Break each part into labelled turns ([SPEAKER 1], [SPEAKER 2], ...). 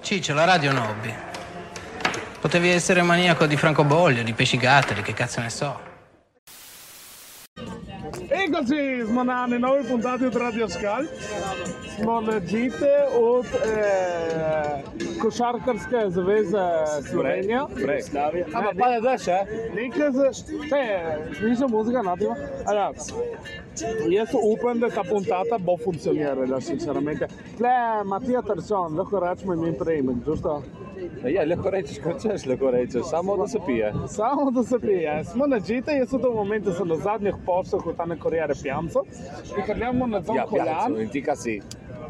[SPEAKER 1] Ciccio, la radio è un hobby. Potevi essere maniaco di francobolli, di pescigatteri, che cazzo ne so.
[SPEAKER 2] И così smanane noi puntate di Radio Skal Monagite od eh, košarkarske zveze Slovenija.
[SPEAKER 3] Jugoslavija.
[SPEAKER 2] Ampak pade deš, eh? Nekaj z... Te, nisem muzika nativa. Allora, jaz upam, da ta puntata bo funkcionirala, sinceramente. Tle, Matija Terson, lahko rečemo ime in prejemek, giusto?
[SPEAKER 3] Ja, lahko rečeš, kot češ, lahko rečeš, samo da se pije. Ja,
[SPEAKER 2] Samo da se pije. Smo na džite, jaz sem do momento sem na zadnjih poštah v tane korijere pijanca. In ker gremo na dva
[SPEAKER 3] Ja,
[SPEAKER 2] koljan.
[SPEAKER 3] pijačo in ti kaj si.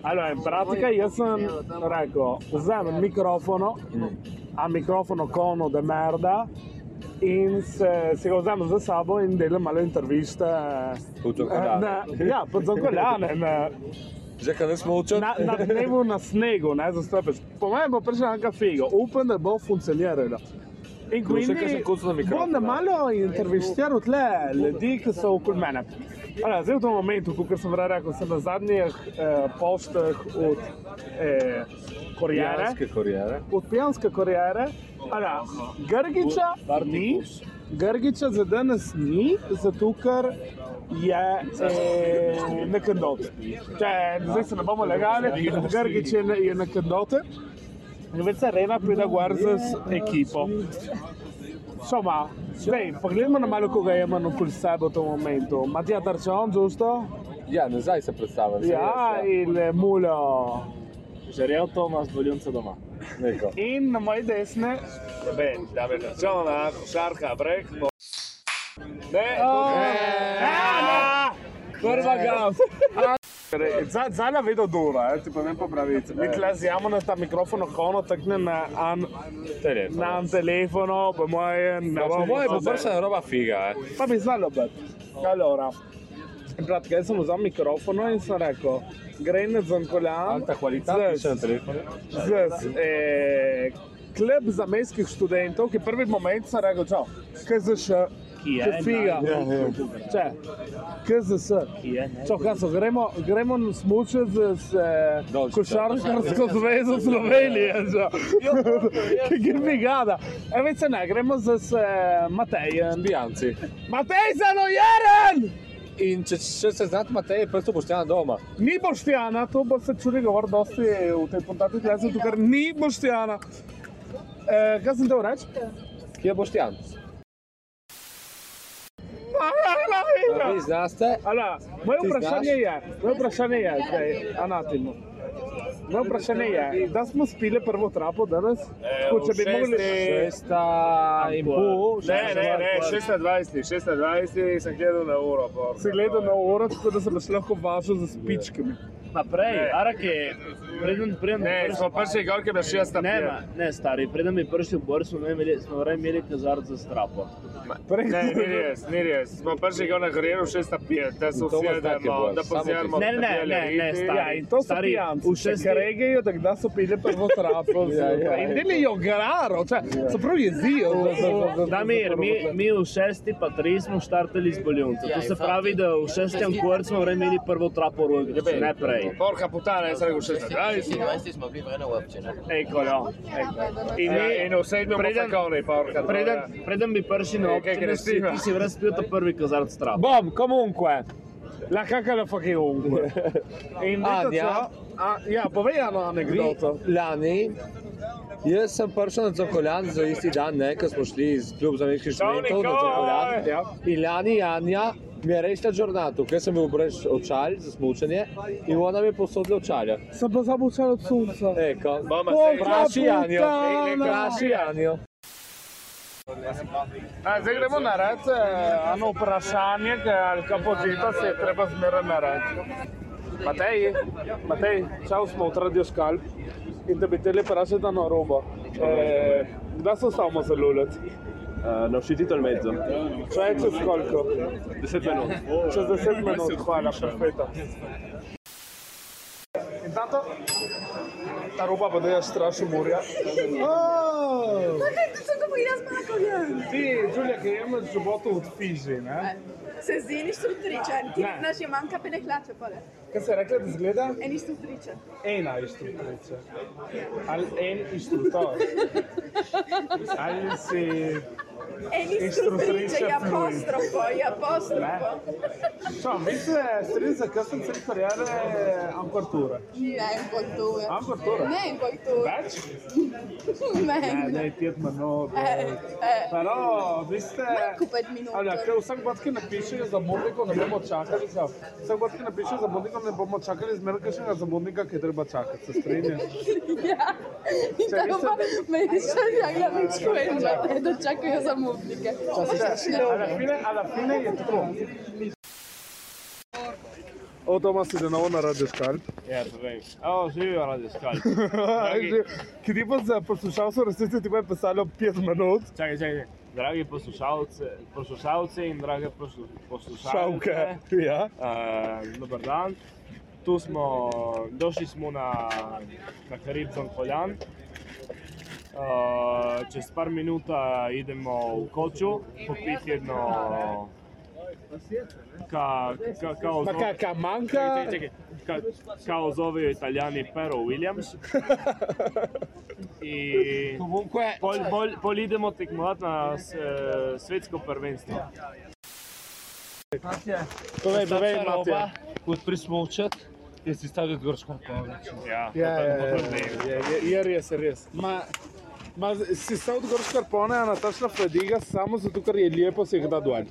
[SPEAKER 2] Allora, in pratica jaz sem rekel, vzamem mikrofono, a mikrofono kono de merda in se, se ga vzamem za sabo in eh, delam malo interviste.
[SPEAKER 3] V to koljane.
[SPEAKER 2] Na- Ja, pod zokoljane. na-
[SPEAKER 3] Že kaj nismo učili?
[SPEAKER 2] Na, na dnevu na snegu, ne zastopiš. Po mojem bo prišla neka figa, upam, da bo funkcionirala. In
[SPEAKER 3] Bo še kakšen kuc na mikrofon,
[SPEAKER 2] bom na
[SPEAKER 3] ne?
[SPEAKER 2] malo intervjuiral tle ljudi, ki so okoli mene. Ala, zdaj v tem momentu, kot sem prej rekel, sem na zadnjih eh, postih od eh, Korijere,
[SPEAKER 3] Pijanske korijere.
[SPEAKER 2] od pijanske Korijere. Ala, Grgiča ni, Grgiča za danes ni, zato ker je eh, na kandote. Če zdaj se ne bomo legali, Grgič je, na- je na kandote. In več se rena pride gor z ekipo. Insomma, dai, poglejmo na malo, koga imamo okoli sebe v tem momentu. Matija Tarčon, giusto?
[SPEAKER 3] Ja, nazaj se predstavljam. se
[SPEAKER 2] Ja,
[SPEAKER 3] jaz,
[SPEAKER 2] in eh, Mulo.
[SPEAKER 3] Žerel Tomas, boljunca doma. Neko.
[SPEAKER 2] In na moji desni,
[SPEAKER 4] Ben, Damir Krčona, košarka, brek.
[SPEAKER 3] Ne,
[SPEAKER 2] Ana!
[SPEAKER 3] prva ga.
[SPEAKER 2] Zdaj je vedno dobro, eh, ti pa ne popravici. Mi tle zjamo na ta mikrofon, kono takne na, an,
[SPEAKER 3] Telefon.
[SPEAKER 2] na an telefono, po moje ne
[SPEAKER 3] Po
[SPEAKER 2] bomo
[SPEAKER 3] moje bo
[SPEAKER 2] mogli.
[SPEAKER 3] pršena roba figa. eh.
[SPEAKER 2] Pa bi znalo biti. Allora, brat, jaz sem vzel mikrofono in sem rekel, gre na zankoljan.
[SPEAKER 3] Alta kvalitata, še na telefonu.
[SPEAKER 2] z eh, klub zamejskih študentov, ki prvi moment so rekli, čau, KZŠ, ki figa, če, KZS, čau, kaj so, gremo, gremo smuče z, z eh,
[SPEAKER 3] Dolčiča.
[SPEAKER 2] košarkarsko zvezo Slovenije, čau. ki mi gada. E, več se ne, gremo z z, eh, Matejem.
[SPEAKER 3] Pijanci.
[SPEAKER 2] Matej zanojeren!
[SPEAKER 3] In če, če se znate, Matej, prosto boštjan doma.
[SPEAKER 2] Ni boštjana, to bo se čudi govor dosti v tej pontati klasi, ker ni boštjana. E, kaj sem te reč?
[SPEAKER 3] Kje je boštjan?
[SPEAKER 2] Ja.
[SPEAKER 3] A Vi znaste?
[SPEAKER 2] Ala, moje
[SPEAKER 3] Ti znaš?
[SPEAKER 2] vprašanje je, moje vrašanje je, zdaj, anatimo. Moje vprašanje je, da smo spili prvo trapo danes,
[SPEAKER 4] E,
[SPEAKER 2] tako če bi mogli...
[SPEAKER 3] Šesta in pol.
[SPEAKER 4] Ne, ne, ne,
[SPEAKER 3] šesta-
[SPEAKER 4] 26, 26 sem gledal na uro. porca.
[SPEAKER 2] Se gleda na uro, tako da se boš lahko važil za spičkami.
[SPEAKER 5] Naprej,
[SPEAKER 4] Ne.
[SPEAKER 5] arak je, preden pridem do
[SPEAKER 4] Ne,
[SPEAKER 5] prst-
[SPEAKER 4] smo prišli gor, ker je bila šesta
[SPEAKER 5] Ne,
[SPEAKER 4] prijela.
[SPEAKER 5] ma, ne, stari, preden mi prši v bor, smo imeli, smo raje imeli kazard za strapo.
[SPEAKER 2] Prej,
[SPEAKER 4] Ne, ni res, ni res. Smo prišli gor na gorilu, šesta prijela, da so
[SPEAKER 3] To vas
[SPEAKER 4] vsi, da,
[SPEAKER 3] take
[SPEAKER 4] mo-
[SPEAKER 3] bolj,
[SPEAKER 4] da
[SPEAKER 3] samo
[SPEAKER 4] poziramo.
[SPEAKER 3] tisto.
[SPEAKER 5] Eh, Ne, ne, ne, ne, ne,
[SPEAKER 2] Ja, in to so
[SPEAKER 5] Stari,
[SPEAKER 2] pijanci,
[SPEAKER 5] v
[SPEAKER 2] če
[SPEAKER 5] šesti-
[SPEAKER 2] ga regejo, da kdaj so pili prvo trapo.
[SPEAKER 3] Ja, ja,
[SPEAKER 2] In delijo graro, če, se pravi jezijo. za- za- za- za- za-
[SPEAKER 5] Damir, mi, mi v šesti pa tri smo štartali z boljunca. To se pravi, da v šestem kvartu smo raje imeli prvo trapo v igri, ne prej.
[SPEAKER 4] Porka putana, jaz sem rekel 26.
[SPEAKER 6] 26 smo bili vrno uopćeno.
[SPEAKER 5] Eko, ja. eko.
[SPEAKER 2] Eh,
[SPEAKER 5] In
[SPEAKER 4] Ja,
[SPEAKER 5] mi,
[SPEAKER 4] in v sedmem
[SPEAKER 5] preden,
[SPEAKER 4] opakavni, porka.
[SPEAKER 5] preden, preden bi prši na
[SPEAKER 4] Nekaj,
[SPEAKER 2] Eh,
[SPEAKER 4] ki
[SPEAKER 5] občine,
[SPEAKER 4] ne
[SPEAKER 5] si
[SPEAKER 4] stima.
[SPEAKER 5] ti si vrst pil ta prvi kazard strapo.
[SPEAKER 3] Bom, komunque.
[SPEAKER 2] La kaka la fucking ongue. In
[SPEAKER 3] Anja?
[SPEAKER 2] Anja? A, ja, povej eno anegdoto.
[SPEAKER 3] Vi, lani, jaz sem prišel na Zokoljan za isti dan, ne, ko smo šli iz kluba za nekaj študentov na Zokoljan.
[SPEAKER 2] Ja.
[SPEAKER 3] In lani Janja mi je rekla žurnatu, ker sem bil brez očal za smučanje in ona mi je posodila očalja.
[SPEAKER 2] Sem pa zabučal od sunca.
[SPEAKER 3] Eko,
[SPEAKER 4] Bomo se.
[SPEAKER 3] vpraši Janjo,
[SPEAKER 2] puntana.
[SPEAKER 3] vpraši Janjo.
[SPEAKER 2] A, zdaj gremo na red, eh, eno vprašanje, ki- ali kaj počita se je treba zmeraj na red. Matej, Matej, čau smo v Radio Skalp in da bi tele prašati na robo. е, Кда се ставamo za lulet?
[SPEAKER 6] Na všitito in mezzo.
[SPEAKER 2] Kaj je čez koliko?
[SPEAKER 6] 10 minut.
[SPEAKER 2] Čez 10 minut, hvala, perfekta. Intanto, ta roba pa da je strašno morja. Oh!
[SPEAKER 7] Kaj ti sem govorila z Markovjem?
[SPEAKER 2] Ti, Đulja, ki jemlješ životu od fiži, ne?
[SPEAKER 7] Se zdi, nič sutričen. Ti
[SPEAKER 2] Ne.
[SPEAKER 7] znaš, imam kapene hlače, pole. E,
[SPEAKER 2] Kaj se je rekla, da zgleda?
[SPEAKER 7] Eni sutričen.
[SPEAKER 2] Ena inštruktorica. Ali en inštruktor. Ali si...
[SPEAKER 7] Eni
[SPEAKER 2] Eni
[SPEAKER 7] sutričen,
[SPEAKER 2] sutričen,
[SPEAKER 7] E, ja apostrofo, ja apostrofo.
[SPEAKER 2] Čo, mi se strinjam, zakaj sem se karjere amkortura.
[SPEAKER 7] Ne, in kulture.
[SPEAKER 2] Amkortura.
[SPEAKER 7] Ne, in kulture.
[SPEAKER 2] Več? Ne,
[SPEAKER 7] Ne,
[SPEAKER 2] ne, tjet mano.
[SPEAKER 7] Eh, eh.
[SPEAKER 2] Pa no, vi ste...
[SPEAKER 7] Manj kot pet minut.
[SPEAKER 2] Ali, ker vsak bot, ki napiše zamudnikov, ne bomo čakali, za, vsak bot, ki napiše zamudnikov, ne bomo čakali zmeraj kakšnega zamudnika, ki je treba čakati, se strinjaš?
[SPEAKER 7] Ja, in
[SPEAKER 2] Čakaj,
[SPEAKER 7] tako pa me je še zjavila nič kojenča, ja, da čakajo zamudnike.
[SPEAKER 2] Alla fine, alla fine je to. Ovo doma si da novo na Radio Skalp.
[SPEAKER 5] Ja, povej. Evo, živijo radio skalj.
[SPEAKER 2] Ki ti pa za poslušalstvo resnici ti pa je pisalo 5 minut.
[SPEAKER 5] Čakaj, čakaj. Dragi poslušalce, poslušalci in drage poslu, poslušalke.
[SPEAKER 2] Šavke. Ja.
[SPEAKER 5] Uh, dobar dan. Tu smo, došli smo na, na Karibzon Poljan. Uh, čez par minuta idemo v koču, popiti jedno... Ka, ka, kao,
[SPEAKER 2] Pa
[SPEAKER 5] zove,
[SPEAKER 2] kaka manjka.
[SPEAKER 5] čekaj, ka, kao zovejo italijani Pero Williams. I
[SPEAKER 2] Ko je
[SPEAKER 5] pol, pol, pol idemo tekmovati na s, eh, svetsko prvenstvo.
[SPEAKER 2] Povej, povej, Matija.
[SPEAKER 6] Kot prismoček, je si stavil grško konec.
[SPEAKER 5] Ja,
[SPEAKER 2] Ja,
[SPEAKER 5] to
[SPEAKER 2] ja,
[SPEAKER 5] je
[SPEAKER 2] ja,
[SPEAKER 5] dober dan.
[SPEAKER 2] ja, je- je res, je res. Ma, ma, si se odgor škarpone, a natačna fladiga samo zato, ker je lepo se jih da dol.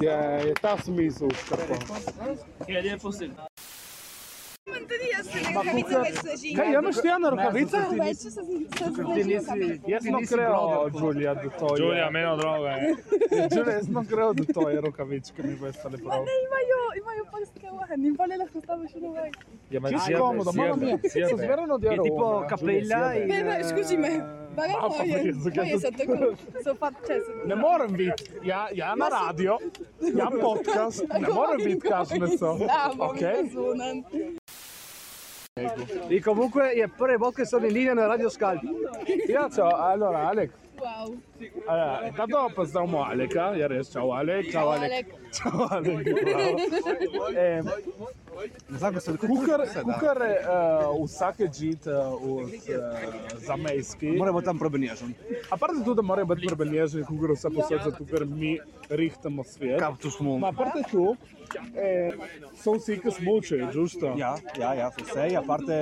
[SPEAKER 2] Je, je ta smisel škarpone.
[SPEAKER 5] Je lepo se
[SPEAKER 7] Tudi jaz sem nekaj več sežila.
[SPEAKER 2] Kaj, jemaš ti eno rokavico?
[SPEAKER 7] Več se sežila.
[SPEAKER 2] Jaz sem kreo, Julija, da to je.
[SPEAKER 4] Julija, meni od droga je.
[SPEAKER 2] Julija, jaz sem kreo, da to je rokavička, mi bo stale prav.
[SPEAKER 7] Ne, imajo, imajo prstke v eni, pa ne lahko staviš v novej.
[SPEAKER 6] Ja, ma
[SPEAKER 2] Čisto komodo, malo mi je. Se zmerno djelo. Je tipo kapela in...
[SPEAKER 7] Ne, ne, skuži me. Bagaj
[SPEAKER 2] pa
[SPEAKER 7] moje,
[SPEAKER 2] brez, zakaj
[SPEAKER 7] moje so
[SPEAKER 2] to-
[SPEAKER 7] tako, so pa čez.
[SPEAKER 2] Ne morem biti, ja, ja na radio, ja podcast, ne morem biti kašnico.
[SPEAKER 7] Okay.
[SPEAKER 2] Okej.
[SPEAKER 7] Zunen.
[SPEAKER 2] I comunque je prvi bot che sono in linea nel radio Skype. Ja, ciao, allora Alek.
[SPEAKER 7] Wow.
[SPEAKER 2] Allora, intanto passiamo a Alek, eh? Ja, res, ciao Alek, ciao Alek.
[SPEAKER 7] Alek.
[SPEAKER 2] Ciao Alek. bravo. Ehm, Kukar, kukar je uh, vsake žit uh, od uh, zamejski. Moramo tam prebenježen. A parte tudi, da mora biti prebenježen, kukar vse posod, zato ker mi rihtamo svet. Kam tu smo? Ma parte tu, eh, so vsi, ki smo učili, žušto.
[SPEAKER 8] Ja, ja, ja, so vse, a parte,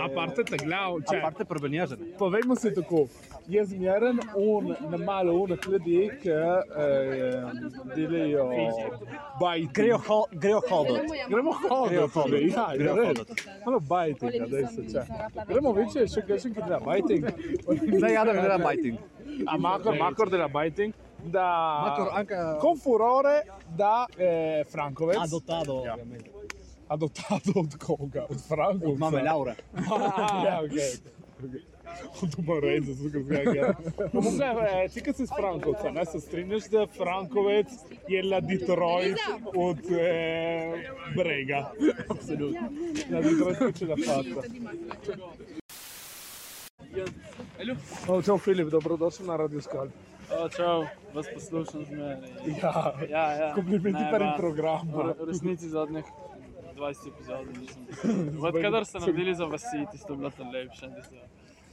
[SPEAKER 2] A parte te glav, če.
[SPEAKER 8] a parte prvenjažene.
[SPEAKER 2] Povejmo si tako, jaz zmeren un, na malo unih ljudi, ki eh, delajo bajti.
[SPEAKER 8] Grejo, ho, grejo hodot.
[SPEAKER 2] Gremo hoditi, tudi, ja,
[SPEAKER 8] Grejo
[SPEAKER 2] je res.
[SPEAKER 8] hodit.
[SPEAKER 2] Malo bajtinga, daj se če. Gremo večje, še kaj, še kaj dela bajting.
[SPEAKER 8] Ne, ja, da ne delam bajting.
[SPEAKER 2] A makor, makor dela bajting. Da,
[SPEAKER 8] Makor, anka-
[SPEAKER 2] Con furore da eh, Frankovec.
[SPEAKER 8] Adotado.
[SPEAKER 2] Ja. Adottato od koga? Od Frankovca. Od
[SPEAKER 8] Mame Laura.
[SPEAKER 2] ja, okay. Doma rejza, zelo zgledaj. Mogoče, eh, ti, ki si iz Frankovca, ne se strinjaš, da Frankovec je la Detroit od eh, Brega. Absolutno. La Detroit je la fata. Oh, čau, Filip, dobrodošel na Radio Skal.
[SPEAKER 9] O, čau, vas poslušam zmeraj.
[SPEAKER 2] Ja,
[SPEAKER 9] Ja, ja.
[SPEAKER 2] komplimenti prvim
[SPEAKER 9] najbolj.
[SPEAKER 2] programom.
[SPEAKER 9] V resnici zadnjih 20 epizod nisem poslušal. Odkadar ste naredili za vasi, tisto je bilo tam lepše. tisto.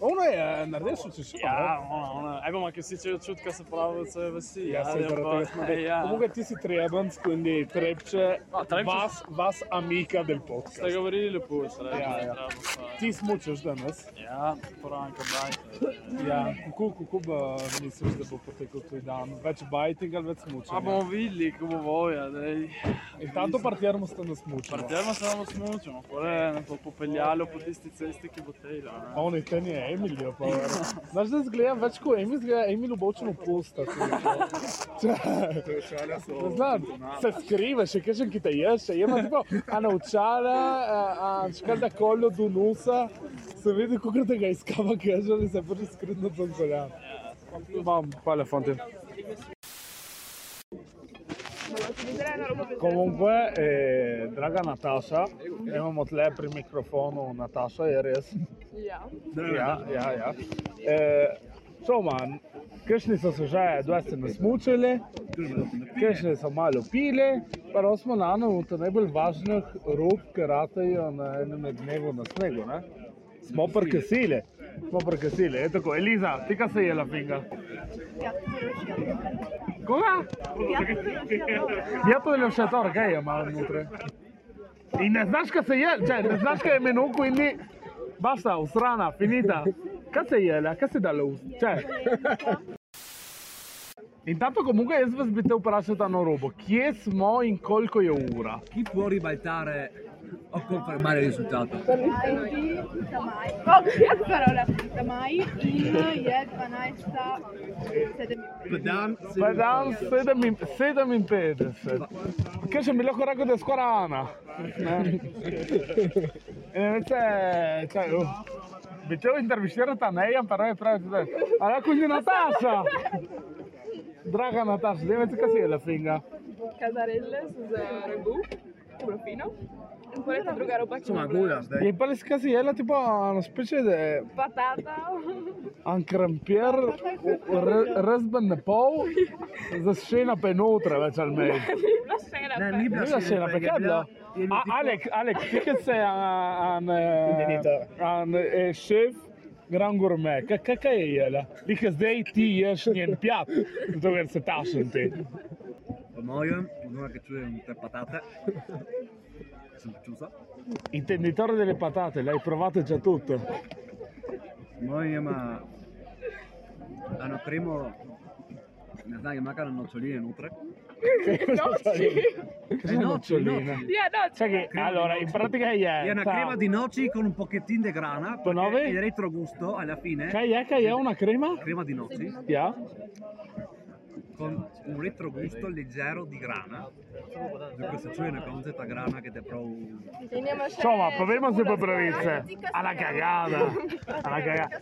[SPEAKER 2] Ono je, narediš še še
[SPEAKER 9] Ja, ono, ono. Ej, bomo, ki si čutil čutka, se pravi, da je vasi.
[SPEAKER 2] Ja, se
[SPEAKER 9] ja,
[SPEAKER 2] zaradi tega smo rekli.
[SPEAKER 9] ja.
[SPEAKER 2] Mogoče ti si treban, skundi, trepče,
[SPEAKER 9] A, Trepče-
[SPEAKER 2] vas, vas amika del podcast.
[SPEAKER 9] Ste govorili lepo, se reče.
[SPEAKER 2] Ja,
[SPEAKER 9] Ja,
[SPEAKER 2] ja.
[SPEAKER 9] ja.
[SPEAKER 2] Ti smučaš danes.
[SPEAKER 9] ja, poranka, bajte.
[SPEAKER 2] Ja, kako, kako ba, misliš, da bo potekel tvoj dan? Več bajting ali več
[SPEAKER 9] A
[SPEAKER 2] smučanja?
[SPEAKER 9] bomo videli, kako bo volja, daj.
[SPEAKER 2] In tam to partjermo ste nas smučali.
[SPEAKER 9] Predvsem se nam smučimo, kore, ne bo popeljalo po tisti cesti, ki bo tejla. ne.
[SPEAKER 2] A on je ten je Emilijo, pa vera. Znaš, da zgleda več kot Emil, zgleda Emil obočeno pusta. Ne znam, se skriva, še kažem, ki te je, še ima tako, a naučala, a škada koljo do nosa, Sem vedel, kako da ga iskava, ker že se prvi skritno tam pelja.
[SPEAKER 6] Imam telefon ti.
[SPEAKER 2] Comunque, eh, draga Nataša, imamo tle pri mikrofonu Nataša, je res.
[SPEAKER 7] Ja.
[SPEAKER 2] Ja, ja, ja. E, Soma, kakšni so se že, dva ste nas mučili, kakšni so malo pili, pa smo na enem od najbolj važnih rok, ki ratajo na enem dnevu na snegu. Ne? Smo prkasili, smo prkasili. E, tako, Eliza, ti kaj se je lapinga? Koga? Ja, to je le še to, kaj je malo znotraj. In ne znaš, kaj se je, če ne znaš, kaj je menuku in ni. Basta, usrana, finita. Kaj se je, le? kaj se da le vse? In tato, komu jaz vas bi te vprašal ta norobo, kje smo in koliko je ura?
[SPEAKER 8] Chi può ribaltare o confermare il risultato?
[SPEAKER 7] Kako parola? Tamaj in je 12.7.
[SPEAKER 8] Pedam, se-
[SPEAKER 2] Pa dan 57. Kaj še mi lahko rekel, da je skoraj Ana? Ne. In reče, čaj, uh, bi te intervjuširati, a ne, jam pa raje pravi, da je. A ja, kuži Nataša! Draga Nataša, zdaj veš, kaj si je lafinga.
[SPEAKER 7] Kazarelle z ragu, profino. In potem ta druga roba, ki ima
[SPEAKER 2] Je pa res, kaj si jela, tipo, ono speče, da je
[SPEAKER 7] patata.
[SPEAKER 2] En krampir, razben na pol, zaščena pa je notra, več ali manj.
[SPEAKER 7] Ni bila še ena. Ne,
[SPEAKER 2] Ni bila zaščena, pa kaj je bila? A, Alek, Alek, ti kaj se je, an, an, an, šef, gran eh, gourmet, kaj, kaj, kaj je jela? Ti kaj zdaj ti eh, ješ njen pjat, zato ker se tašen ti.
[SPEAKER 8] Po mojem, un'ora che c'è tre patate. Sono chiusa.
[SPEAKER 2] Intenditore delle patate, l'hai provate già tutto.
[SPEAKER 8] Moje ma... Hanno primo... Ne sai che mancano noccioline nutre.
[SPEAKER 2] Cos'è nocciolina?
[SPEAKER 7] Ja, noč.
[SPEAKER 2] Sai che, allora, in pratica
[SPEAKER 8] È
[SPEAKER 2] è...
[SPEAKER 8] una crema di noci con un pochettino di grana. perché
[SPEAKER 2] Bonove?
[SPEAKER 8] Il retrogusto alla fine...
[SPEAKER 2] Che è, che è una crema?
[SPEAKER 8] Crema di noci
[SPEAKER 2] Ja.
[SPEAKER 8] con un retrogusto leggero di grana. Perché se c'è una concetta grana che ti provo
[SPEAKER 7] In je ima še...
[SPEAKER 2] Insomma, povemo se po pravice. A la cagada. A la cagada.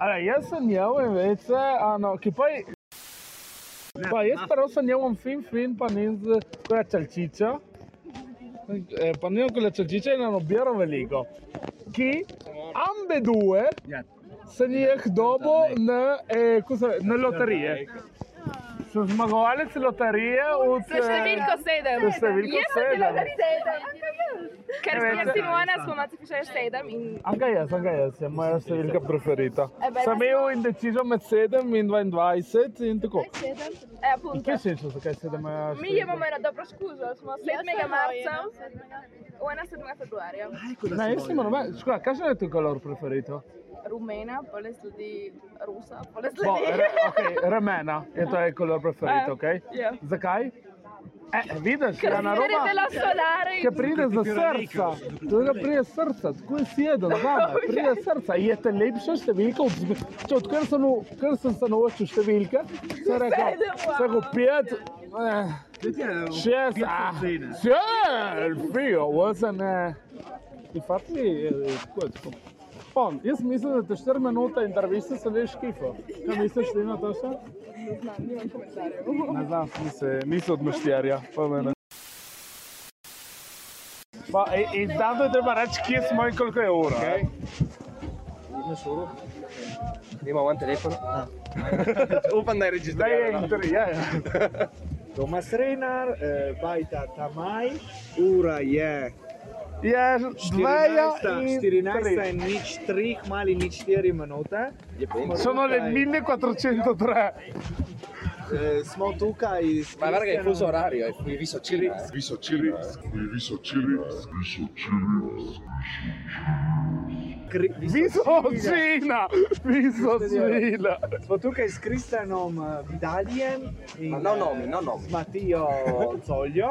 [SPEAKER 2] Allora, jaz sem njel in vece, ano, ki pa je... Pa
[SPEAKER 5] eh.
[SPEAKER 2] jaz prvo sem njel on fin fin, pa ni z koja čalčiča. Eh, Pa ni okolo čalčiča in ono bjero veliko. Ki ambe due sem jih dobo na, eh, ko se, na loterije. Sem zmagovalec loterije od...
[SPEAKER 7] S številko sedem.
[SPEAKER 2] S številko
[SPEAKER 7] Jaz sem bila
[SPEAKER 2] sedem.
[SPEAKER 7] na sedem. Ker
[SPEAKER 2] Ne,
[SPEAKER 7] sem jaz
[SPEAKER 2] veste-
[SPEAKER 7] in ona smo imeli še sedem in
[SPEAKER 2] Anche io, anche io, se moja številka preferita.
[SPEAKER 7] Eh beh,
[SPEAKER 2] Sem
[SPEAKER 7] ma-
[SPEAKER 2] imel indeciso med 7 in 22 in tako.
[SPEAKER 7] e,
[SPEAKER 2] In
[SPEAKER 7] Eh, appunto.
[SPEAKER 2] kaj se je, zakaj 7 je?
[SPEAKER 7] Mi imamo eno dobro škuzo, smo 7. marca, ona 7. februarja.
[SPEAKER 2] Ne, jaz sem robe. Škoda, kakšen je tvoj kolor preferito?
[SPEAKER 7] Rumena, potem sledi Rusa, potem
[SPEAKER 2] Bo,
[SPEAKER 7] sledi...
[SPEAKER 2] re, okay, remena je to je kolor preferito,
[SPEAKER 7] Eh,
[SPEAKER 2] ok?
[SPEAKER 7] ja.
[SPEAKER 2] Zakaj? Eh, vidiš,
[SPEAKER 7] Ker
[SPEAKER 2] je na
[SPEAKER 7] si
[SPEAKER 2] roba,
[SPEAKER 7] vidite la solare
[SPEAKER 2] ki pride za srca. To je prije srca, tako je sjedel,
[SPEAKER 7] Oh,
[SPEAKER 2] zame,
[SPEAKER 7] ja.
[SPEAKER 2] prije srca. Je te lepša številka od zbe. Če odkar sem, v- ker sem se naučil številke, sem rekel,
[SPEAKER 7] Sedem, wow.
[SPEAKER 2] sem rekel pet, eh, šest, ah, šest, figo, vozen, eh. Infatti, eh, tako je tako. On, jaz mislim, da te 4 minute intervjuje se veš kifo. Kaj misliš, da ima to še? Ne znam, nisem, nisem od mašterja, pa mene. Pa, i- in tam je treba reči, kje smo in koliko je ura. Okay.
[SPEAKER 3] Imam en telefon. Upam, da je
[SPEAKER 2] Zdaj je
[SPEAKER 3] registriran.
[SPEAKER 2] intervju. Ja, ja.
[SPEAKER 10] Tomas Renar, eh, bajta Tamaj, ura je
[SPEAKER 2] Je dveja
[SPEAKER 10] 14,
[SPEAKER 2] in
[SPEAKER 10] 14
[SPEAKER 2] tri.
[SPEAKER 10] in nič 3, mali nič 4 minute.
[SPEAKER 2] Sono le 1403.
[SPEAKER 10] Eh, smo tukaj iz
[SPEAKER 3] Ma guarda che è fuso orario, è qui vicino.
[SPEAKER 2] Visocina,
[SPEAKER 10] Ja,
[SPEAKER 2] visocina.
[SPEAKER 10] Smo tukaj s Kristjanom eh, Vidaljem in
[SPEAKER 3] Ma no nomi, no nomi.
[SPEAKER 10] eh, z Matijo Zoljo.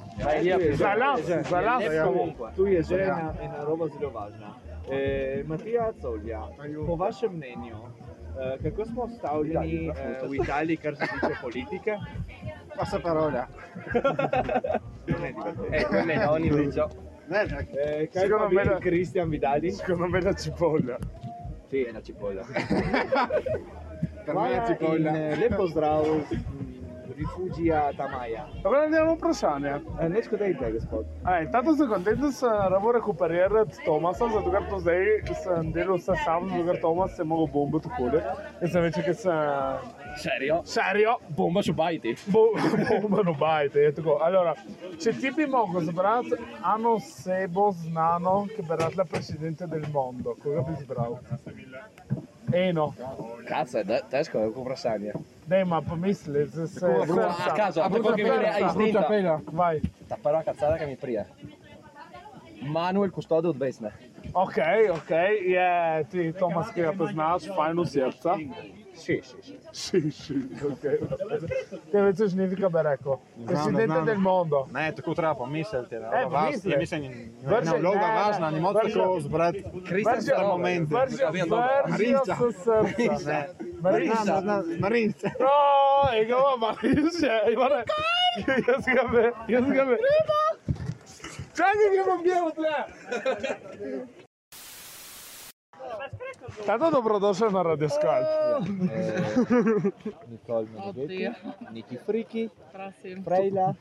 [SPEAKER 2] Ja, za las, za Ja. las.
[SPEAKER 10] Tu je že ena, ena roba zelo važna. E, Matija Colja, po vašem mnenju, e, kako smo stavljeni e, v Italiji, kar se tiče politike? Pa se parola.
[SPEAKER 11] Eh, me no, ogni mezzo.
[SPEAKER 10] Eh, Kaj
[SPEAKER 11] Secondo
[SPEAKER 10] pa
[SPEAKER 11] me
[SPEAKER 10] vi,
[SPEAKER 11] la-
[SPEAKER 10] Kristjan, vi dali? Secondo me la cipolla. Sì, è la cipolla. per
[SPEAKER 2] me è la cipolla.
[SPEAKER 10] Lepo zdrav, mm, rifugija Tamaja.
[SPEAKER 2] Tako da imamo vprašanje.
[SPEAKER 10] Neč kaj dajte, gospod.
[SPEAKER 2] Aj, tato sem kontent, da sem rabo rekuperirati Tomasa, zato ker to zdaj sem delal vse sam, zato ker Tomas je mogel bombo tako le. Jaz sem večer, ker sem... Serio? Serio? Bomba ću bajiti. Bo, bomba ću bajiti, je tako. boh. Allora, če ti bi mogel zbrati eno osebo znano, ki bi radila presidente del mondo, koga bi zbral? Eno.
[SPEAKER 11] Cazzo, è da- tedesco è un po' brassania.
[SPEAKER 2] Dej, ma pomisli, zdaj se...
[SPEAKER 11] Tako, bruha, a
[SPEAKER 2] Ah,
[SPEAKER 11] caso, a te quello che viene a istinto.
[SPEAKER 2] Vai.
[SPEAKER 11] La parola cazzata che mi pria. Manuel Custode od Vesna.
[SPEAKER 2] Ok, ok, je ti Tomas, ki ga poznaš, fajn v srca. Še, še, še. Še, še, ok. Te več už ni vika bi rekel. Presidente del mondo.
[SPEAKER 12] Ne, tako treba pomisliti. Ne,
[SPEAKER 2] E, pomisli.
[SPEAKER 12] Vrže, vloga
[SPEAKER 2] ne, ne,
[SPEAKER 12] važna, ne moreš
[SPEAKER 2] vrže-
[SPEAKER 12] tako zbrati.
[SPEAKER 2] Vrže-
[SPEAKER 12] za moment.
[SPEAKER 2] vrže- vržijo se srca.
[SPEAKER 12] Marinca.
[SPEAKER 2] Marinca. No, je ga ima Marinca. Ivane, Jaz ga bi, jaz ga bi. Čakaj, ga bom bil tle. Tato, dobrodošel na Radio Skype.
[SPEAKER 11] Nicole
[SPEAKER 13] Oddio.
[SPEAKER 11] Niki Friki.
[SPEAKER 13] Prosim.
[SPEAKER 11] Freila.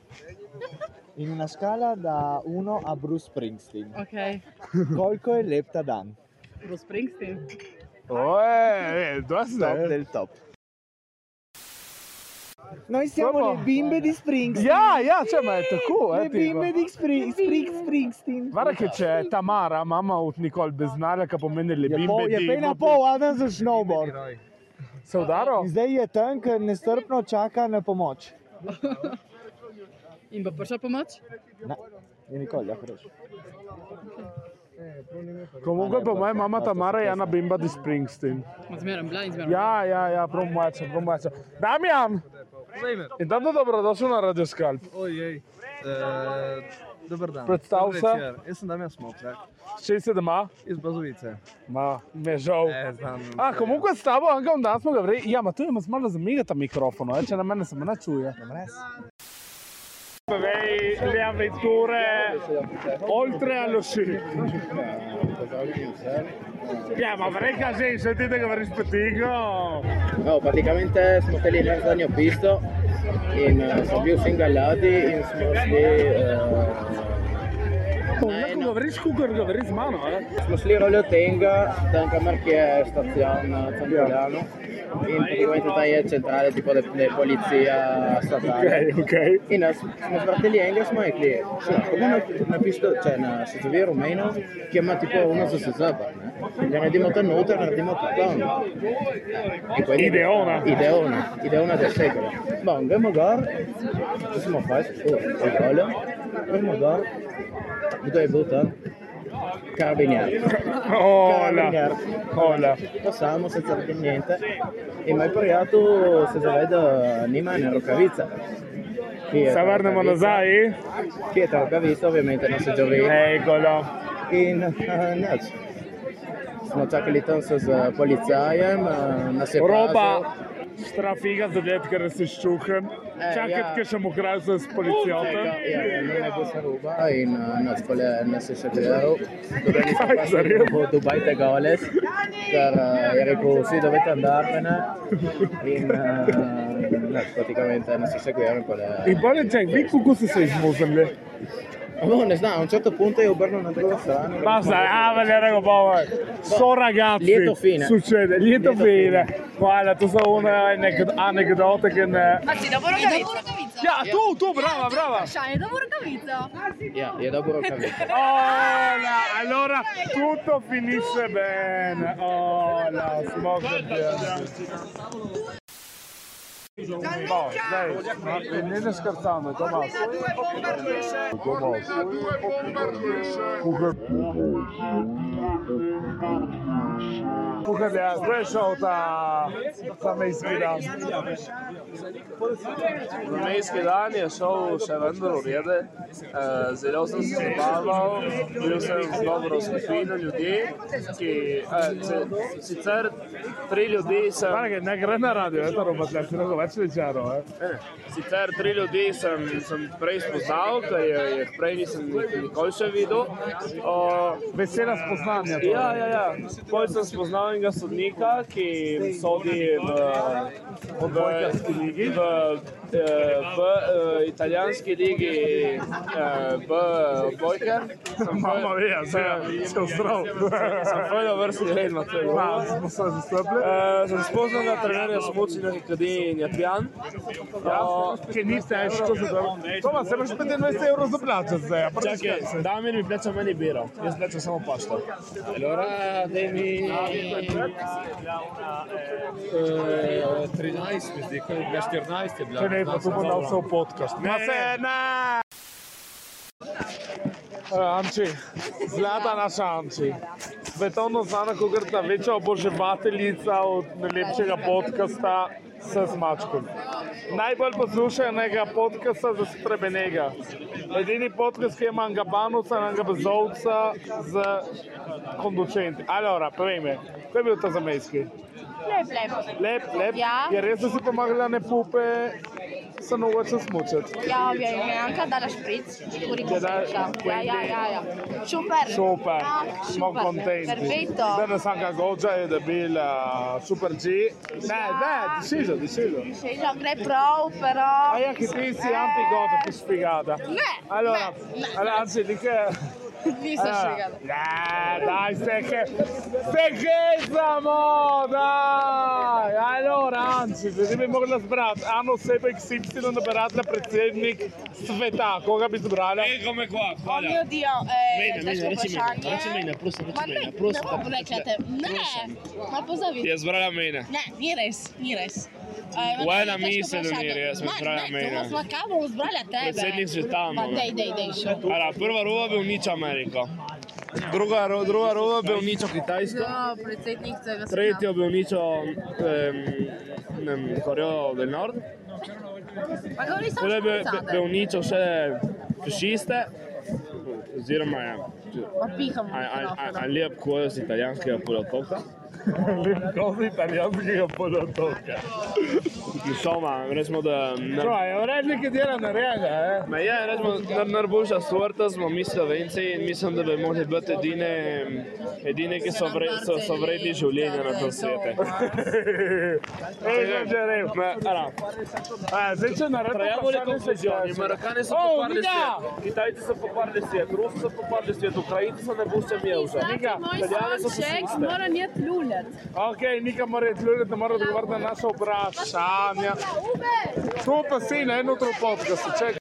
[SPEAKER 11] In una scala da 1 a Bruce Springsteen.
[SPEAKER 13] Ok,
[SPEAKER 11] Koliko je lep ta dan?
[SPEAKER 13] Bruce Springsteen.
[SPEAKER 2] Uè, dove stai? Top
[SPEAKER 11] del top.
[SPEAKER 14] Noi siamo
[SPEAKER 2] Proprio-
[SPEAKER 14] le bimbe di Springsteen.
[SPEAKER 2] Ja, ja, cioè, ma è tu, eh,
[SPEAKER 14] Le
[SPEAKER 2] tipo.
[SPEAKER 14] bimbe di Spring, Spring, Springsteen.
[SPEAKER 2] Guarda che c'è Tamara, mamma od Nicole Beznarja, ki pomeni le
[SPEAKER 14] Po,
[SPEAKER 2] bimbe.
[SPEAKER 14] je
[SPEAKER 2] di-
[SPEAKER 14] pejna pol, Adam za snowboard.
[SPEAKER 2] Se udaro?
[SPEAKER 14] Zdaj je tank, nestrpno čaka na pomoč.
[SPEAKER 13] In bo prišla pomoč?
[SPEAKER 11] Ne, je nikoli, lahko rečeš.
[SPEAKER 2] Comunque per me mamma Tamara je ena bimba di Springsteen.
[SPEAKER 13] Ma zmeraj bila in zmeraj.
[SPEAKER 2] Ja, ja, ja, prav mačo, prav mačo. Damjan! Intanto dobrodošel na Radio Skalp.
[SPEAKER 15] Ojej. E, Dober dan.
[SPEAKER 2] Predstav
[SPEAKER 15] Dober
[SPEAKER 2] se.
[SPEAKER 15] večer. Jaz sem Damjan Smokljak.
[SPEAKER 2] Še si doma?
[SPEAKER 15] Iz Bazovice.
[SPEAKER 2] Ma, mi je žal.
[SPEAKER 15] znam.
[SPEAKER 2] A, comunque s tabo, anche un dan smo ga vreli. Ja, ma tu imaš malo zamigata mikrofono, eh, če na mene se me ne čuje. Povej le avventure oltre allo sci. Ja, ma verrei sì, sentite che avrei spettico.
[SPEAKER 16] No, praticamente smo bili na zadnjo pisto in uh, sem bil sem ga ladi in eh, smo šli.
[SPEAKER 2] Lahko govoriš, kako govoriš z mano.
[SPEAKER 16] Smo šli roljo tega, tam kamor je stacion na Cantolano. In praticamente tam je centrale tipo de, de policija statale.
[SPEAKER 2] Ok, ok.
[SPEAKER 16] In eh, nas smo svrteli enega smo rekli, uno napisto, cioè na SSV rumeno, chiama tipo uno SSV. eh. Ne naredimo tam noter, naredimo tam tam. E quindi-
[SPEAKER 2] Ideona.
[SPEAKER 16] Ideona, Ideona del secolo. Ma un Game Gar, cosa siamo fatti? Oh, il gol. Game Gar, dove è buttato? Carabinieri.
[SPEAKER 2] Hola. Hola.
[SPEAKER 16] Passiamo senza dire niente. E mi hai pagato se se vedo Nima in Roccavizza.
[SPEAKER 2] Savarna Monosai?
[SPEAKER 16] Chi è Roccavizza ovviamente non si gioca.
[SPEAKER 2] Eccolo.
[SPEAKER 16] In eh, Nels. Smo čakali tam se z policajem, eh, nas je pazil.
[SPEAKER 2] Roba. Strafiga za det, ker si ščuhen.
[SPEAKER 16] ja.
[SPEAKER 15] E,
[SPEAKER 2] Čakati, ker še mu kraj se s policijo.
[SPEAKER 15] ja.
[SPEAKER 16] Dubai in uh, nas pole nas je še gledal. Dobili smo
[SPEAKER 2] Aj,
[SPEAKER 16] pa
[SPEAKER 2] zares?
[SPEAKER 16] v Dubai te goles, ker uh, je rekel, vsi dovete andarmene. In uh, nas praticamente nas je še gledal in pole.
[SPEAKER 2] In bolje, čak, vi kako ste se izmuzili?
[SPEAKER 16] No, certo ne znam, na črto punta je obrnil na drugo stran.
[SPEAKER 2] Basta, ah, ve ne rego povej. So ragazzi.
[SPEAKER 16] Lieto fine.
[SPEAKER 2] Succede, lieto fine. Guarda, tu sono una anec- aneddote che ne...
[SPEAKER 13] Ma si, dobro rokavico.
[SPEAKER 2] Ja, tu, tu, brava, brava.
[SPEAKER 13] Vprašanje, dobro rokavico.
[SPEAKER 16] Ja, je dobro rokavit.
[SPEAKER 2] Oh, la- allora tutto finisce bene. Oh, la smoke No, dai, ma venite scherzando, Tommaso. Tommaso. Comunque- Pogleda, zdaj je šel ta zamejski dan.
[SPEAKER 4] Mejski dan je šel še vendar v rede, Eh, zelo sem se zabaval, bil sem z dobro skupino ljudi, ki eh, se- sicer tri ljudi sem...
[SPEAKER 2] Marge, ne gre na radio, eh, je to robotlja, si lahko več ličarov.
[SPEAKER 4] Eh, Sicer tri ljudi sem, sem prej spoznal, ker je- jih prej nisem nik- nikoli še videl. O,
[SPEAKER 2] Vesela spoznanja. torej.
[SPEAKER 4] Ja, ja, ja. Pol sem spoznal enega sodnika, ki sodi v odbojkarski ligi, v, eh, v eh, italijanski ligi, eh, v odbojkar.
[SPEAKER 2] Mama ve, ja, zdaj je vse zdrav.
[SPEAKER 4] Sem prvo vrsti red na tem.
[SPEAKER 2] Ja, smo se zastopili.
[SPEAKER 4] Sem spoznal na trenerja Smucina, ki je pijan.
[SPEAKER 2] Ki ni težko zadevati. Toma, se moraš 25 evrov zaplačati zdaj. a pa ne
[SPEAKER 4] Čakaj,
[SPEAKER 2] skakaj.
[SPEAKER 4] Damir mi plača meni biro, jaz plačam samo pašto.
[SPEAKER 3] Allora devi... Eh, 13 mi zdi, ko je bila 14 je bila.
[SPEAKER 2] Če ne, pa to bo dal vse v podcast. Ma se ne! Amči, Eh, zlata naša Amči. Svetovno znana kot ta večja oboževateljica od najlepšega podcasta s Mačkom. Najbolj poslušanega podcasta za Strebenega. Edini podcast, ki ima enega banusa in enega bezovca z kondučenti. Alora, povej mi, kaj je bil ta zamejski?
[SPEAKER 17] Lep, lep.
[SPEAKER 2] Lep, lep.
[SPEAKER 17] Ja.
[SPEAKER 2] Je res, da si pomagala ne pupe, se naučila smučati.
[SPEAKER 17] Ja, mi je anche dalla spritz, sicurito
[SPEAKER 2] Ti dai-
[SPEAKER 17] senza. Ja,
[SPEAKER 2] quindi-
[SPEAKER 17] ja, ja, ja. Super.
[SPEAKER 2] Super,
[SPEAKER 17] Ah,
[SPEAKER 2] smo
[SPEAKER 17] super.
[SPEAKER 2] contenti.
[SPEAKER 17] Perfetto.
[SPEAKER 2] Danes Anka Gođa je dobila Super G. Ne, ne, deciso, deciso.
[SPEAKER 17] Sì, no, crei pro, però...
[SPEAKER 2] A ja, ki ti si Anti Gođa, ti spiegata.
[SPEAKER 17] Ne,
[SPEAKER 2] Allora,
[SPEAKER 17] ne, ne.
[SPEAKER 2] allora, anzi, di che...
[SPEAKER 17] Nisam
[SPEAKER 2] Allora,
[SPEAKER 17] spiegata.
[SPEAKER 2] Ne, dai, stai che... Stai che samo, dai! Allora, anzi, se ti bi mogla zbrati, ano sebe XY nabrati na predsednik sveta, koga bi zbrala?
[SPEAKER 5] Ego me
[SPEAKER 2] Ah,
[SPEAKER 5] qua,
[SPEAKER 17] Oh mio Dio, eh,
[SPEAKER 5] Mene, mene,
[SPEAKER 17] teško
[SPEAKER 5] reći mene,
[SPEAKER 17] vprašanje.
[SPEAKER 5] reći mene, prosim, reći
[SPEAKER 17] Ma ne,
[SPEAKER 5] mene, prosim.
[SPEAKER 17] ne bom rekla te, ne, ma pozavi.
[SPEAKER 4] Je zbrala mene.
[SPEAKER 17] Ne, ni res, ni res. Eh, ma
[SPEAKER 4] Ujela
[SPEAKER 17] to je teško
[SPEAKER 4] misel
[SPEAKER 17] vprašanje.
[SPEAKER 4] ni res,
[SPEAKER 17] Ma
[SPEAKER 4] zbrala
[SPEAKER 17] ne,
[SPEAKER 4] mene.
[SPEAKER 17] Ma kaj bom zbrala tebe?
[SPEAKER 4] Predsednik sveta,
[SPEAKER 17] Ma
[SPEAKER 4] moga.
[SPEAKER 17] dej, dej, dej, še.
[SPEAKER 4] Ara, prva roba bi uničila Ameriko, druga, ro- druga roba bi uničila Kitajsko,
[SPEAKER 13] predsednik tega
[SPEAKER 4] tretjo bi uničila um, Korejo del Nord,
[SPEAKER 13] Pa govori samo
[SPEAKER 4] potem bi,
[SPEAKER 13] za
[SPEAKER 4] bi,
[SPEAKER 13] sebe.
[SPEAKER 4] bi uničil še fašiste, oziroma ja,
[SPEAKER 13] Pa pihamo.
[SPEAKER 4] ali lep kojos italijanskega polotoka.
[SPEAKER 2] Kozi italijanskega polotoka.
[SPEAKER 4] Insomma, recimo da... ne-
[SPEAKER 2] Čuva, je urednik je dela narejega, eh?
[SPEAKER 4] Ma je, rečemo, nar, najboljša sorta smo mi Slovenci in mislim, da bi mogli biti edine, edine ki so, vre, so, so vredni življenja na tem svetu.
[SPEAKER 2] Ej, že že rev. A, zdaj če naredim
[SPEAKER 4] Trajamo
[SPEAKER 2] vprašanje,
[SPEAKER 4] le
[SPEAKER 2] se
[SPEAKER 4] konfuzioni,
[SPEAKER 2] kaže.
[SPEAKER 4] Marakani so
[SPEAKER 2] O,
[SPEAKER 4] poparili
[SPEAKER 2] Miga!
[SPEAKER 4] svet, Kitajci so poparili svet, Rusi so poparili svet, Ukrajinci so najboljša mjevža. Italijani so fašiste.
[SPEAKER 13] njeti ljuljati.
[SPEAKER 2] Ok, nikam mora iti ljudi, da mora odgovoriti na naša vprašanja. To pa si na eno tro podcast, čekaj.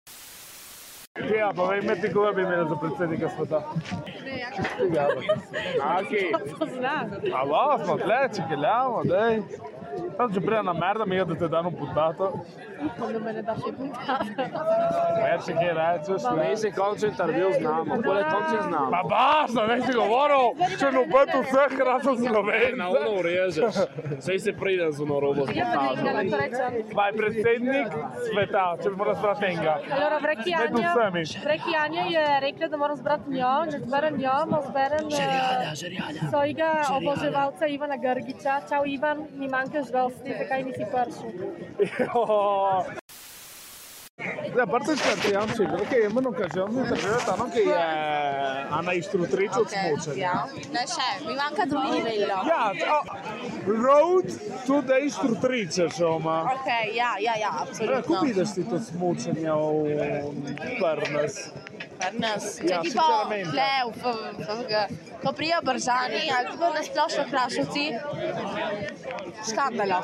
[SPEAKER 2] Ja, pa vej, meti koga bi imeli za predsednika sveta. Aki. Alo, smo tle, čekaj, lavo, dej. Tam že prije na merda mi je, da te dano podato.
[SPEAKER 13] Upam, da me ne daš še
[SPEAKER 2] Več, kaj rečeš, ne?
[SPEAKER 4] Mi si končni intervju znamo, poleg končni znamo.
[SPEAKER 2] Pa baš, ne si govoril, če nobet vseh rasov
[SPEAKER 4] E, Na
[SPEAKER 2] Slovencev.
[SPEAKER 4] ono urežeš, sej se pride z ono robo.
[SPEAKER 13] Ja, pa nekaj, da to rečem.
[SPEAKER 2] Vaj predsednik sveta, če bi moral zbrati enega.
[SPEAKER 13] Allora, Vreki
[SPEAKER 2] Med
[SPEAKER 13] Anja,
[SPEAKER 2] vsemi.
[SPEAKER 13] Vreki Anja je rekla, da moram zbrati njo, ne zberem njo, ma zberem eh, svojega oboževalca Ivana Grgiča. Čau Ivan, mi manjkaš dosti, zakaj nisi prišel?
[SPEAKER 2] Da, brtaš na te jamči, ok, je mno kaže, on je takrat, ono, ki je Ana Ištrutrič od smučanja.
[SPEAKER 17] Ne še, Cioè, mi manjka Dominibello.
[SPEAKER 2] Ja, o, road to the Ištrutriče, šoma.
[SPEAKER 17] Ok, ja, ja, ja,
[SPEAKER 2] Ja,
[SPEAKER 17] absolutno.
[SPEAKER 2] kako vidiš ti to smučanje v Prnas?
[SPEAKER 17] Pri nas, če
[SPEAKER 2] Ja,
[SPEAKER 17] ti pa
[SPEAKER 2] sinceramente.
[SPEAKER 17] le, ko prijo bržani ali tako na splošno krašovci, škandalo.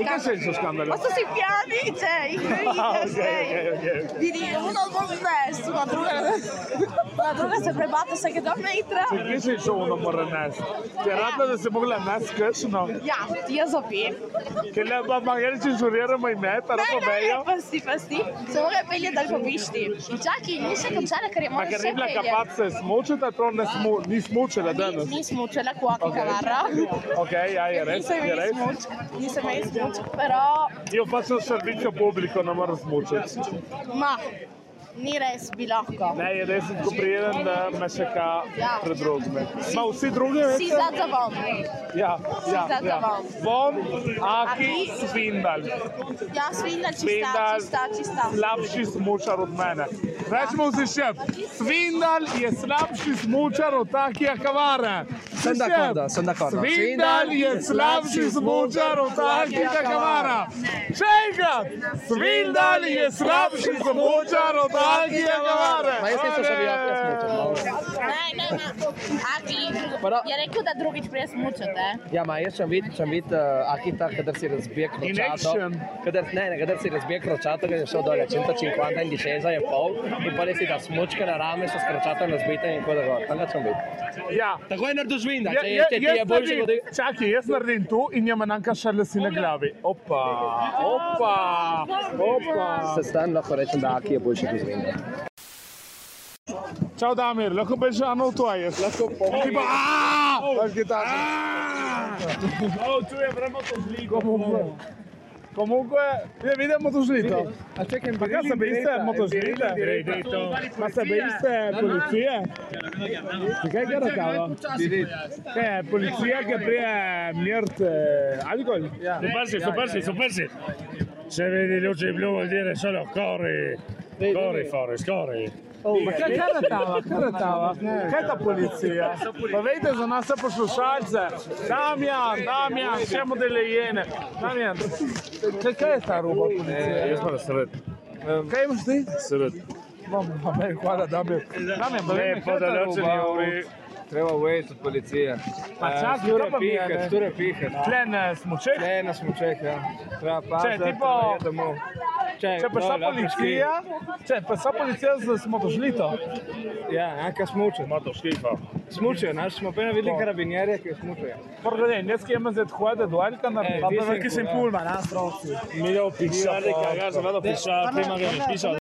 [SPEAKER 2] I kaj se je škandalo?
[SPEAKER 17] Pa so si pijani, če jih ne vidiš,
[SPEAKER 2] Okej, okej,
[SPEAKER 17] ne.
[SPEAKER 2] okej.
[SPEAKER 17] Vidi, ono bo vse,
[SPEAKER 7] jest, na druga, na druga se prebata vsakega metra.
[SPEAKER 2] Kje si šel na Moranes? Ti je rada, da si mogla nas kršno?
[SPEAKER 7] Ja, jaz opim.
[SPEAKER 2] Ker le pa magelci žuriramo ime, pa ramo mejo.
[SPEAKER 7] Pasti, pasti. Se mora peljati dal po višti. Čakaj, nisem končala, ker je
[SPEAKER 2] Ma
[SPEAKER 7] moja
[SPEAKER 2] ker je bila kapace smučiti, to ne smo, ni smučila danes.
[SPEAKER 7] Nismo učila kuaka
[SPEAKER 2] Okej.
[SPEAKER 7] kavara.
[SPEAKER 2] Ok, ja, je res,
[SPEAKER 7] Nisem
[SPEAKER 2] je
[SPEAKER 7] imela
[SPEAKER 2] res.
[SPEAKER 7] smuč, nisem imela smuč, pero
[SPEAKER 2] Io faccio servizio pubblico, ne morem smučiti.
[SPEAKER 7] ma, ni res bi lahko.
[SPEAKER 2] Ne, je res, ko prijedem, da me še ka
[SPEAKER 7] Ja.
[SPEAKER 2] pred drugimi. Ma vsi drugi,
[SPEAKER 7] Si
[SPEAKER 2] veste?
[SPEAKER 7] za zavom.
[SPEAKER 2] Ja, ja,
[SPEAKER 7] za
[SPEAKER 2] ja.
[SPEAKER 7] zavom.
[SPEAKER 2] Von, Aki,
[SPEAKER 7] Aki.
[SPEAKER 2] Svindal.
[SPEAKER 7] Ja, svinja čista,
[SPEAKER 2] Svindal,
[SPEAKER 7] čista, čista.
[SPEAKER 2] slabši smučar od mene. Rečemo si še, Svindal je slabši smučar od Akija Kavara.
[SPEAKER 3] Sem
[SPEAKER 2] Si šef,
[SPEAKER 3] d'accordo, sem d'accordo.
[SPEAKER 2] Svindal je slabši smučar od Akija Kavara. Še enkrat, Svindal je slabši smučar od Akija Kavara.
[SPEAKER 3] Ma jaz nisem še bil Akija
[SPEAKER 7] Ne, ne, ne. Aki,
[SPEAKER 3] Pero-
[SPEAKER 7] je Ja, rekel, da drugič prije smučate.
[SPEAKER 3] Ja, ma jaz sem videl, sem videl uh, Akita, kadar si razbije kročato.
[SPEAKER 2] action.
[SPEAKER 3] Kadar, ne, ne, kadar si razbije kročato, kad je šel dolje, 150 in 16 je pol, in pa si da smučke na rame so s kročatom razbite in tako da gor. Tam ga sem videl.
[SPEAKER 2] Ja.
[SPEAKER 3] Tako je naredil žvinda,
[SPEAKER 2] Ja,
[SPEAKER 3] če,
[SPEAKER 2] ja,
[SPEAKER 3] je- če ti je
[SPEAKER 2] jaz
[SPEAKER 3] bolj
[SPEAKER 2] naredim-
[SPEAKER 3] živo, da je...
[SPEAKER 2] Čakaj, jaz naredim to in jama nanka še lesi na glavi. Opa, opa, opa.
[SPEAKER 3] Se stan lahko rečem, da Aki je boljši kot žvinda.
[SPEAKER 2] Čau, Damir, lahko beži ano v tvoje. Lahko pomeni. Ti pa, aaa! Paš gitaro. Ah!
[SPEAKER 18] Oh, tu je vremo to zliko.
[SPEAKER 2] Comunque, je vidim motožlito.
[SPEAKER 18] A čekaj,
[SPEAKER 2] Ma kaj se biste, motožlite? Ma se biste policije?
[SPEAKER 18] Cioè,
[SPEAKER 2] Zakaj ga rakava? E, policija, ki prije mjert eh, alkohol.
[SPEAKER 4] Su persi, su persi, su persi. Se vedi luci blu vuol dire solo corri. Corri Forrest, corri.
[SPEAKER 2] O, Oh, ma kaj je ratava, kaj ratava? Kaj je ta policija? Povejte za nas poslušalce. Damjan, Damjan, čemu delejene? Damjan, kaj, kaj je ta roba policija?
[SPEAKER 4] E, Jaz pa da se red.
[SPEAKER 2] Kaj imaš ti?
[SPEAKER 4] Sred.
[SPEAKER 2] Mamma mia, hvala Damjan. Damjan, povej mi,
[SPEAKER 4] Lepo
[SPEAKER 2] kaj je ta roba?
[SPEAKER 19] Treba uvesti od policije.
[SPEAKER 2] Pa
[SPEAKER 19] Eh,
[SPEAKER 2] čas,
[SPEAKER 19] šture
[SPEAKER 2] kdo pa mi je,
[SPEAKER 19] pihat,
[SPEAKER 2] ne?
[SPEAKER 19] šture pihat.
[SPEAKER 2] Tle na smučeh?
[SPEAKER 19] Tle na smučeh, ja. Treba
[SPEAKER 2] Če
[SPEAKER 19] paziti,
[SPEAKER 2] je
[SPEAKER 19] da
[SPEAKER 2] tipo,
[SPEAKER 19] ne domov.
[SPEAKER 2] če je prišla policija, če je prišla policija z motožlito.
[SPEAKER 19] Ja, anka smuče.
[SPEAKER 4] Motošlifa.
[SPEAKER 19] Smuče, naš smo pa videli karabinjerje, ki smučejo.
[SPEAKER 2] Pogledaj, ne skijem zdaj hode do Alka na
[SPEAKER 19] Eh,
[SPEAKER 2] papir,
[SPEAKER 19] dizem,
[SPEAKER 2] ki sem
[SPEAKER 19] ja.
[SPEAKER 2] pulman, a stroci.
[SPEAKER 4] Mi devo pisare, cagare, vado a pisare prima che mi pisa